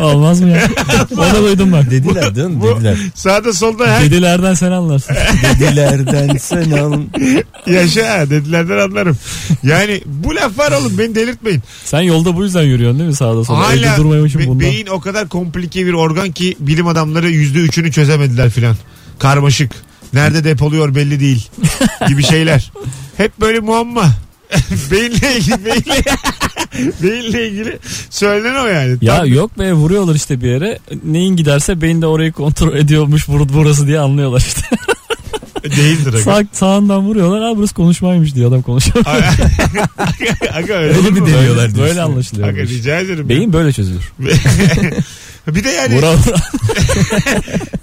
S4: Olmaz mı ya? Onu duydum bak.
S3: Dediler değil mi?
S2: bu-
S3: Dediler.
S2: Sağda solda her
S4: Dedilerden sen anlarsın.
S3: Dedilerden sen al.
S2: yaşa dedilerden anlarım. Yani bu laf var oğlum beni delirtmeyin.
S4: Sen yolda bu yüzden yürüyorsun değil mi sağda sola?
S2: Hala
S4: Evde durmayamışım
S2: be-
S4: bundan.
S2: beyin o kadar komplike bir organ ki bilim adamları yüzde üçünü çözemediler filan. Karmaşık. Nerede depoluyor belli değil gibi şeyler. Hep böyle muamma. beyinle ilgili beyinle, beyinle ilgili söylenen o yani.
S4: Ya yok be vuruyorlar işte bir yere. Neyin giderse beyin de orayı kontrol ediyormuş bur- burası diye anlıyorlar işte.
S2: Değildir. aga.
S4: Sağ, sağından vuruyorlar. Aa burası konuşmaymış diyor adam konuşuyor.
S2: Aga öyle, mi?
S4: Böyle anlaşılıyor.
S2: Aga rica ederim.
S4: Beyin böyle çözülür.
S2: Bir de yani
S4: Vura vura.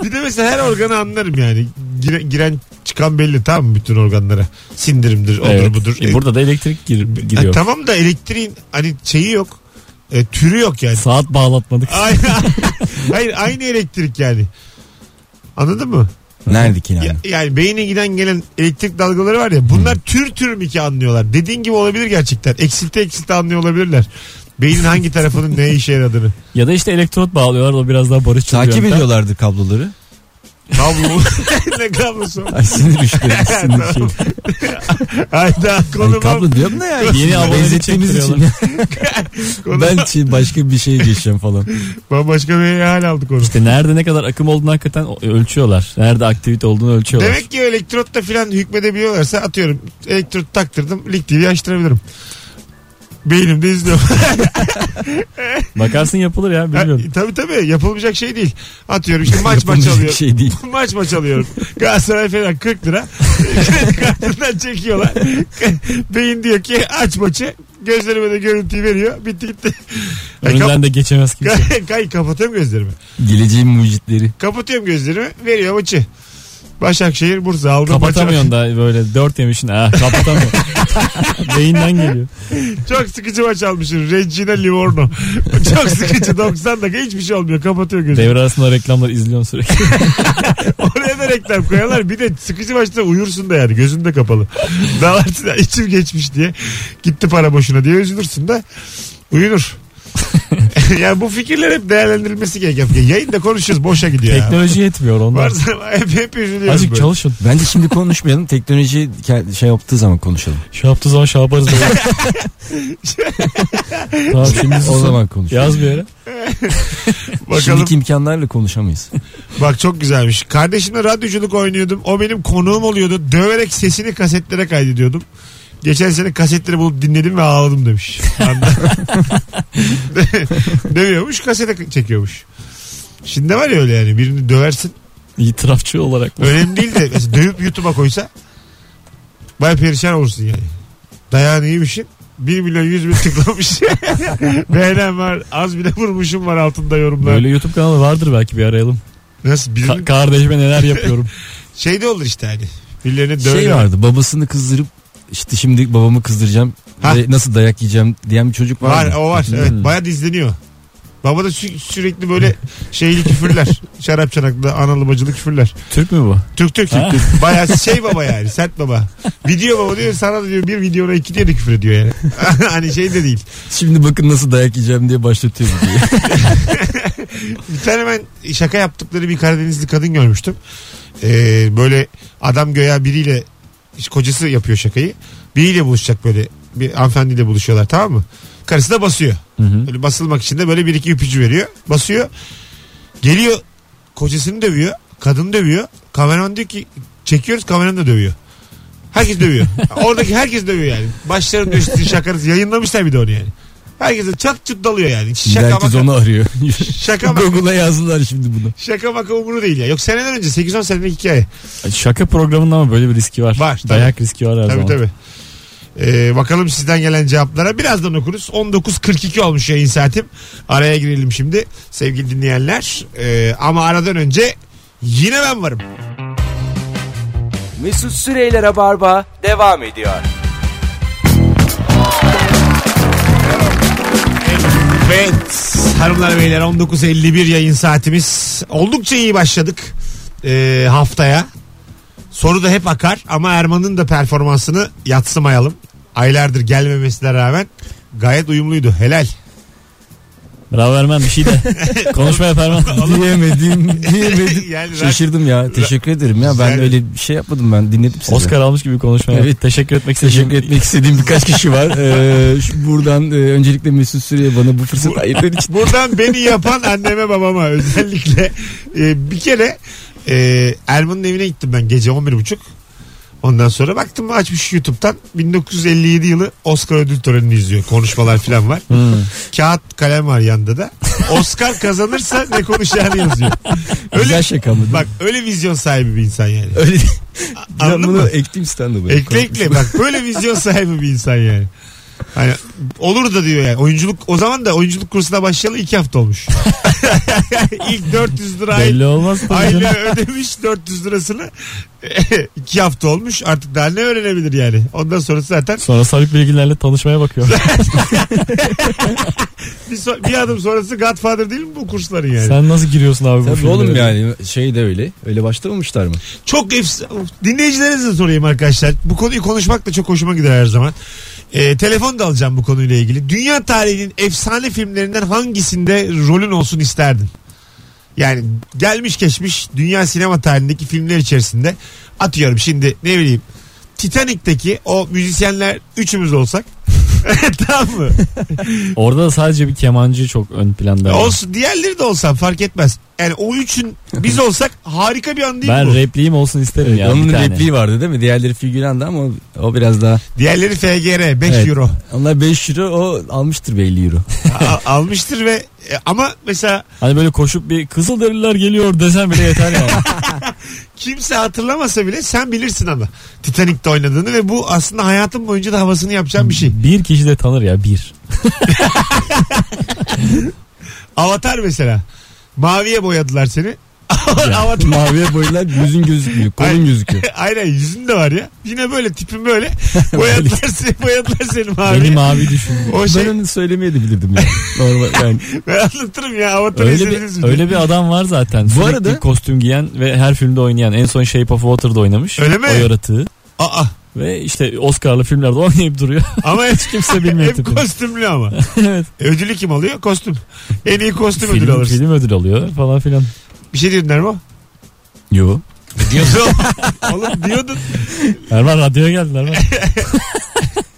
S2: bir de mesela her organı anlarım yani. Gire- giren çıkan belli tamam mı bütün organlara? Sindirimdir, odur
S4: Evet.
S2: budur.
S4: E, burada da elektrik gir-
S2: E,
S4: giriyor.
S2: tamam da elektriğin hani şeyi yok. E, türü yok yani.
S4: Saat bağlatmadık.
S2: Aynı- Hayır aynı elektrik yani. Anladın mı?
S3: Neredik
S2: Ya-
S3: yani?
S2: yani beyne giden gelen elektrik dalgaları var ya bunlar tür tür mü ki anlıyorlar. Dediğin gibi olabilir gerçekten. Eksilti eksilti anlıyor olabilirler. Beynin hangi tarafının neye işe yaradığını.
S4: Ya da işte elektrot bağlıyorlar o biraz daha barışçıl bir
S3: Takip
S4: yöntem.
S3: ediyorlardı kabloları.
S2: Kablo. ne kablosu?
S3: Ay sinir işte. Sinir şey.
S2: Hayda
S3: Ay,
S2: konuma,
S3: kablo diyorum da ya.
S4: Yeni abone
S3: benzettiğimiz için.
S4: çektiriyorlar.
S2: konuma
S3: ben şey- başka bir şey geçeceğim falan.
S2: bambaşka bir hal aldı konu.
S4: İşte nerede ne kadar akım olduğunu hakikaten ölçüyorlar. Nerede aktivite olduğunu ölçüyorlar.
S2: Demek ki elektrotta filan hükmedebiliyorlarsa atıyorum elektrot taktırdım lig TV açtırabilirim. Beynimde izliyorum.
S4: Bakarsın yapılır ya bilmiyorum.
S2: tabii tabii yapılmayacak şey değil. Atıyorum işte maç maç
S3: Yapılmayacak
S2: alıyor.
S3: şey değil.
S2: maç maç alıyorum. Galatasaray falan 40 lira. Kredi kartından çekiyorlar. Beyin diyor ki aç maçı. Gözlerime de görüntüyü veriyor. Bitti gitti. Ay, e, kap-
S4: Önünden de geçemez kimse.
S2: Kay kapatıyorum gözlerimi.
S3: Geleceğin mucitleri.
S2: Kapatıyorum gözlerimi. Veriyor maçı. Başakşehir Bursa aldım. maçı.
S4: Kapatamıyorsun da böyle dört yemişsin. Ah kapatamıyorum. Beyinden geliyor.
S2: Çok sıkıcı maç almışım. Regina Livorno. Çok sıkıcı. 90 dakika hiçbir şey olmuyor. Kapatıyor gözlerimi.
S4: Devre arasında reklamları izliyorsun sürekli.
S2: Oraya da reklam koyarlar. Bir de sıkıcı maçta uyursun da yani. Gözün de kapalı. Dağlarsın. içim geçmiş diye. Gitti para boşuna diye üzülürsün de. Uyunur. yani bu fikirler hep değerlendirilmesi gereken. Yayında konuşuyoruz. Boşa gidiyor ya.
S4: Teknoloji yetmiyor onlar.
S2: Varsa hep, hep üzülüyoruz.
S4: Azıcık
S2: böyle.
S4: çalışın.
S3: Bence şimdi konuşmayalım. Teknoloji ke- şey yaptığı zaman konuşalım.
S4: Şey yaptığı zaman şey yaparız. böyle. tamam şimdi
S3: o
S4: susun.
S3: zaman konuşalım.
S4: Yaz bir yere.
S2: Bakalım.
S3: Şimdiki imkanlarla konuşamayız.
S2: Bak çok güzelmiş. Kardeşimle radyoculuk oynuyordum. O benim konuğum oluyordu. Döverek sesini kasetlere kaydediyordum. Geçen sene kasetleri bulup dinledim ve ağladım demiş. Anladın? Dövüyormuş kasete çekiyormuş. Şimdi var ya öyle yani birini döversin.
S4: İtirafçı olarak.
S2: Önemli değil de mesela dövüp YouTube'a koysa baya perişan olursun yani. Dayağını yemişsin. 1 milyon 100 bin tıklamış. Beğenen var. Az bile vurmuşum var altında yorumlar.
S4: Böyle YouTube kanalı vardır belki bir arayalım.
S2: Nasıl? Birinin
S4: Ka- kardeşime neler yapıyorum.
S2: şey de olur işte hani. Birilerini dövme.
S3: Şey vardı babasını kızdırıp işte şimdi babamı kızdıracağım
S2: Ha.
S3: ve nasıl dayak yiyeceğim diyen bir çocuk
S2: Var,
S3: vardı.
S2: o var. Evet, bayağı dizleniyor. Baba da sü- sürekli böyle şeyli küfürler. Şarap çanaklı analı bacılı küfürler.
S4: Türk mü bu?
S2: Türk Türk
S4: Ha.
S2: Türk. Bayağı şey baba yani sert baba. Video baba diyor sana da diyor bir videona iki diye de küfür ediyor yani. hani şey de değil.
S3: Şimdi bakın nasıl dayak yiyeceğim diye başlatıyor diye.
S2: Bir tane ben şaka yaptıkları bir Karadenizli kadın görmüştüm. Ee, böyle adam göya biriyle işte kocası yapıyor şakayı. Biriyle buluşacak böyle bir hanımefendiyle buluşuyorlar tamam mı? Karısı da basıyor. Böyle basılmak için de böyle bir iki ipucu veriyor. Basıyor. Geliyor kocasını dövüyor. Kadını dövüyor. Kameraman diyor ki çekiyoruz kameraman da dövüyor. Herkes dövüyor. Oradaki herkes dövüyor yani. Başlarında üstü şakarız. Yayınlamışlar bir de onu yani. Herkese çat çut dalıyor yani.
S3: Şimdi
S2: Şaka
S3: herkes
S2: maka,
S3: onu arıyor.
S2: şaka maka,
S3: Google'a yazdılar şimdi bunu.
S2: şaka maka umuru değil ya. Yok seneden önce 8-10 senelik hikaye.
S4: Şaka programında ama böyle bir riski var.
S2: Var, tabii.
S4: Dayak riski var her
S2: Tabii
S4: zaman.
S2: tabii. Ee, bakalım sizden gelen cevaplara. Birazdan okuruz. 19.42 olmuş yayın saatim. Araya girelim şimdi sevgili dinleyenler. Ee, ama aradan önce yine ben varım.
S1: Mesut Süreyler'e barba devam ediyor.
S2: Evet hanımlar beyler 19.51 yayın saatimiz. Oldukça iyi başladık ee, haftaya. Soru da hep akar ama Erman'ın da performansını yatsımayalım. Aylardır gelmemesine rağmen gayet uyumluydu. Helal.
S4: Bravo Erman bir şey de. Konuşma yap Erman.
S3: diyemedim, diyemedim.
S2: Yani
S3: Şaşırdım ya. Teşekkür ederim ya. Ben
S2: Yani-
S3: öyle bir şey yapmadım ben. Dinledim sizi.
S4: Oscar almış gibi konuşma yap.
S3: Evet.
S4: Teşekkür etmek
S3: Teşekkür
S4: istedim.
S3: etmek istediğim birkaç kişi var. Ee, şu- buradan e, öncelikle Mesut Süre'ye bana bu fırsatı ayırdığın için.
S2: Buradan beni yapan anneme babama özellikle Ee, bir kere e, Erman'ın evine gittim ben gece 11.30. Ondan sonra baktım açmış YouTube'dan 1957 yılı Oscar ödül törenini izliyor. Konuşmalar falan var. Kağıt kalem var yanında da. Oscar kazanırsa ne konuşacağını yazıyor. Öyle,
S3: Güzel şaka mı?
S2: bak öyle vizyon sahibi bir insan yani.
S3: Öyle değil. Ben
S2: Anladın
S3: bunu
S2: mı?
S3: ekleyeyim stand-up'a.
S2: Ekle ekle bak böyle vizyon sahibi bir insan yani. Hani olur da diyor yani. Oyunculuk o zaman da oyunculuk kursuna başlayalı iki hafta olmuş. İlk 400 lira ay-
S4: Belli olmaz tabii canım.
S2: aylığı ödemiş 400 lirasını. iki hafta olmuş artık daha ne öğrenebilir yani. Ondan sonrası zaten
S4: Sonra sabit bilgilerle tanışmaya bakıyor.
S2: bir, so- bir adım sonrası Godfather değil mi bu kursların yani?
S4: Sen nasıl giriyorsun abi bu
S3: Tabii
S4: filmlere?
S3: oğlum yani şey de öyle. Öyle başlamamışlar mı?
S2: Çok efs dinleyicilerinize sorayım arkadaşlar. Bu konuyu konuşmak da çok hoşuma gider her zaman. Ee, telefon da alacağım bu konuyla ilgili. Dünya tarihinin efsane filmlerinden hangisinde rolün olsun isterdin? Yani gelmiş geçmiş dünya sinema tarihindeki filmler içerisinde atıyorum şimdi ne bileyim Titanic'teki o müzisyenler üçümüz olsak tamam mı?
S4: Orada da sadece bir kemancı çok ön planda. var.
S2: Olsun diğerleri de olsam fark etmez. Yani o üçün biz olsak harika bir an değil mi
S4: Ben
S2: bu?
S4: repliğim olsun isterim ya.
S3: Onun
S4: bir tane.
S3: repliği vardı değil mi? Diğerleri figürandı ama o biraz daha.
S2: Diğerleri FGR 5
S3: Evet.
S2: euro.
S3: Onlar 5 euro o almıştır be 50 euro.
S2: A- almıştır ve e, ama mesela
S4: Hani böyle koşup bir Kızılderililer geliyor desen bile yeter yani.
S2: kimse hatırlamasa bile sen bilirsin ama Titanic'te oynadığını ve bu aslında hayatın boyunca da havasını yapacağın bir şey.
S4: bir kişi de tanır ya bir.
S2: Avatar mesela. Maviye boyadılar seni. Avatar.
S3: Maviye boyalar yüzün gözükmüyor.
S2: Ay.
S3: Kolun gözüküyor.
S2: Aynen yüzün de var ya. Yine böyle tipin böyle. Boyadılar seni, boyadılar seni maviye.
S4: Beni mavi düşün.
S2: o şey
S3: Ben onu söylemeye de bilirdim ya. Normal yani.
S2: ben anlatırım ya Avatar'ı
S4: Öyle
S2: izlediniz
S4: bir,
S2: mi?
S4: öyle bir adam var zaten. Bu
S3: arada-
S4: kostüm giyen ve her filmde oynayan. En son Shape of Water'da oynamış.
S2: Öyle mi?
S4: O yaratığı.
S2: Aa,
S4: Ve işte Oscar'lı filmlerde oynayıp duruyor.
S2: ama hiç
S4: Kimse bilmiyor
S2: hep
S4: tipi.
S2: kostümlü ama. E,
S4: evet.
S2: Ödülü kim alıyor? Kostüm. En iyi kostüm ödülü
S4: Film,
S2: alırsın.
S4: film ödül alıyor falan filan.
S2: Bir şey diyordun Erman.
S3: Yo.
S4: E,
S2: Diyordun. Oğlum diyordun.
S4: Erman radyoya geldiler. Erman.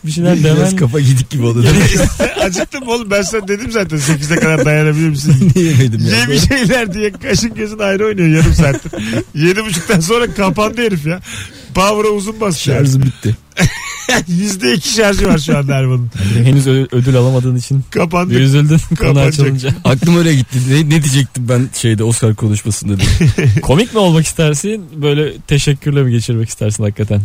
S4: bir şeyler
S3: Biraz
S4: demen.
S3: kafa gidik gibi oldu.
S2: Acıktım oğlum ben sana dedim zaten 8'e kadar dayanabilir misin?
S3: Yemedim ya.
S2: Yemi şeyler diye kaşın gözün ayrı oynuyor yarım saattir. Yedi buçuktan sonra kapandı herif ya. Power'a uzun basıyor.
S3: Şarjı bitti.
S2: Yüzde iki şarjı var şu anda Erman'ın.
S4: Henüz ö- ödül alamadığın için
S2: Kapandı.
S4: bir üzüldün konu
S2: Kapanacak.
S4: açılınca.
S3: Aklım oraya gitti. Ne, ne diyecektim ben şeyde Oscar konuşmasında diye.
S4: Komik mi olmak istersin? Böyle teşekkürle mi geçirmek istersin hakikaten?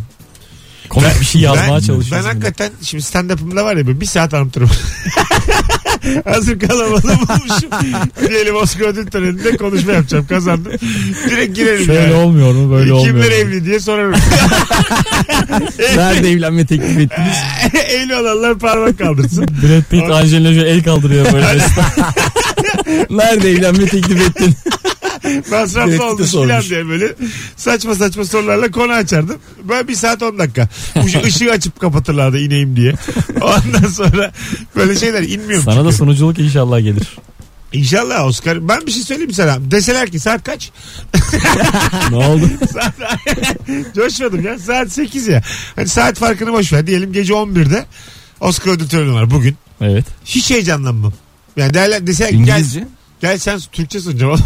S4: Komik bir şey yazmaya
S2: ben,
S4: çalışıyorsun.
S2: Ben
S4: bir de.
S2: hakikaten şimdi stand-up'ımda var ya böyle bir saat anlatırım. Hazır kalabalığı bulmuşum. Diyelim Oscar ödül töreninde konuşma yapacağım kazandım. Direkt girerim
S4: Şöyle
S2: yani.
S4: olmuyor mu? Böyle olmuyor.
S2: Kimler
S4: mu?
S2: evli diye sorarım.
S3: Nerede evlenme teklif ettiniz?
S2: evli olanlar parmak kaldırsın.
S4: Brad Pitt Angelina Jolie el kaldırıyor böyle.
S3: Nerede evlenme teklif ettin?
S2: Masraflı
S3: Direktif de
S2: olmuş
S3: sormuş.
S2: filan diye böyle saçma saçma sorularla konu açardım. Böyle bir saat 10 dakika. Ucu ışığı açıp kapatırlardı ineyim diye. Ondan sonra böyle şeyler inmiyorum.
S4: Sana da
S2: çünkü.
S4: sunuculuk inşallah gelir.
S2: İnşallah Oscar. Ben bir şey söyleyeyim sana. Deseler ki saat kaç?
S4: ne oldu?
S2: Saat... Coşmadım ya. Saat 8 ya. Hani saat farkını boş ver. Diyelim gece 11'de Oscar ödül töreni var bugün.
S4: Evet.
S2: Hiç heyecanlanmam. Yani derler deseler ki gel,
S3: İngilizce.
S2: gel sen Türkçe sunacağım oğlum.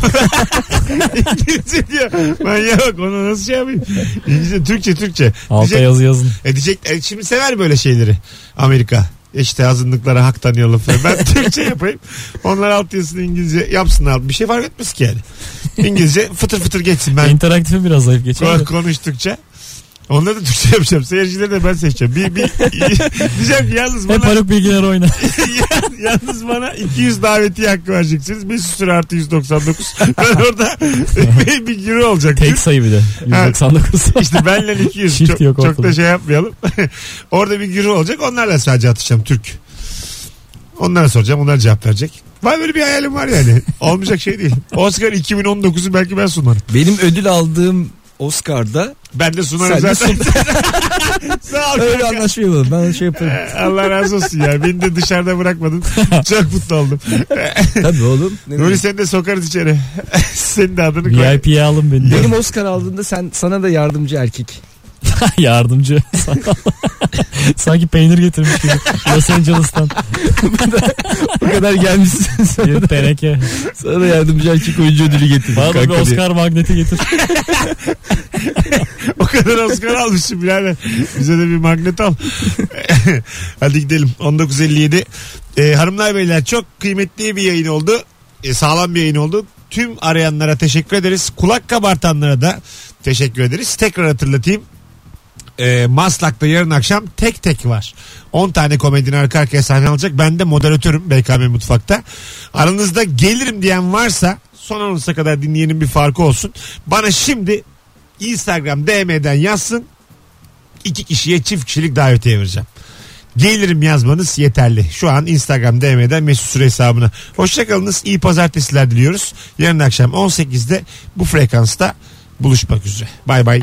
S2: İngilizce diyor. Manyağa bak onu nasıl şey yapayım. İngilizce Türkçe Türkçe.
S4: Alta
S2: Diyecek-
S4: yazı yazın.
S2: E diyecek e şimdi sever böyle şeyleri Amerika. İşte azınlıklara hak tanıyalım falan. Ben Türkçe yapayım. Onlar alt yazısını İngilizce yapsınlar. Bir şey fark etmez ki yani. İngilizce fıtır fıtır geçsin ben
S4: İnteraktifim biraz zayıf geçer.
S2: kon-
S4: de.
S2: konuştukça. Onları da Türkçe yapacağım. Seyircileri de ben seçeceğim. Bir, bir, diyeceğim ki yalnız
S4: Hep
S2: bana,
S4: Haluk Bilginer oynar.
S2: yalnız bana 200 davetiye hakkı vereceksiniz. Mesut Süre artı 199. Ben orada bir, bir giri olacak.
S4: Tek sayı bir de. 199.
S2: İşte benle 200
S4: Çift
S2: çok,
S4: yok
S2: çok
S4: ortada.
S2: da şey yapmayalım. Orada bir gürü olacak onlarla sadece atışacağım Türk. Onlara soracağım onlar cevap verecek. Var böyle bir hayalim var yani. Olmayacak şey değil. Oscar 2019'u belki ben sunarım.
S3: Benim ödül aldığım Oscar'da
S2: Ben de sunarım
S3: Sen de
S2: zaten. Sağ ol.
S3: öyle
S2: kanka.
S3: anlaşma yapalım. Ben şey yaparım.
S2: Allah razı olsun ya. Beni de dışarıda bırakmadın. Çok mutlu oldum.
S3: Tabii oğlum. Ne
S2: Nuri
S3: demek?
S2: seni de sokarız içeri. Senin de adını koy.
S4: VIP'ye alın beni.
S3: Benim Oscar aldığımda sen sana da yardımcı erkek.
S4: Yardımcı. Sanki peynir getirmiş gibi. Los Angeles'tan.
S3: Bu kadar gelmişsin. sana,
S4: Bir teneke.
S3: sana da yardımcı erkek oyuncu ödülü getirdim.
S4: Bana da bir
S3: kanka diye.
S4: Oscar magneti getir.
S2: O kadar Oscar almışım birader. Bize de bir magnet al. Hadi gidelim. 1957. Ee, hanımlar beyler çok kıymetli bir yayın oldu. Ee, sağlam bir yayın oldu. Tüm arayanlara teşekkür ederiz. Kulak kabartanlara da teşekkür ederiz. Tekrar hatırlatayım. e, Maslak'ta yarın akşam tek tek var. 10 tane komedinin arka arkaya sahne alacak. Ben de moderatörüm BKM Mutfak'ta. Aranızda gelirim diyen varsa son anonsa kadar dinleyenin bir farkı olsun. Bana şimdi Instagram DM'den yazsın. İki kişiye çift kişilik davetiye vereceğim. Gelirim yazmanız yeterli. Şu an Instagram DM'den Mesut Süre hesabına. Hoşçakalınız. İyi pazartesiler diliyoruz. Yarın akşam 18'de bu frekansta buluşmak üzere. Bay bay.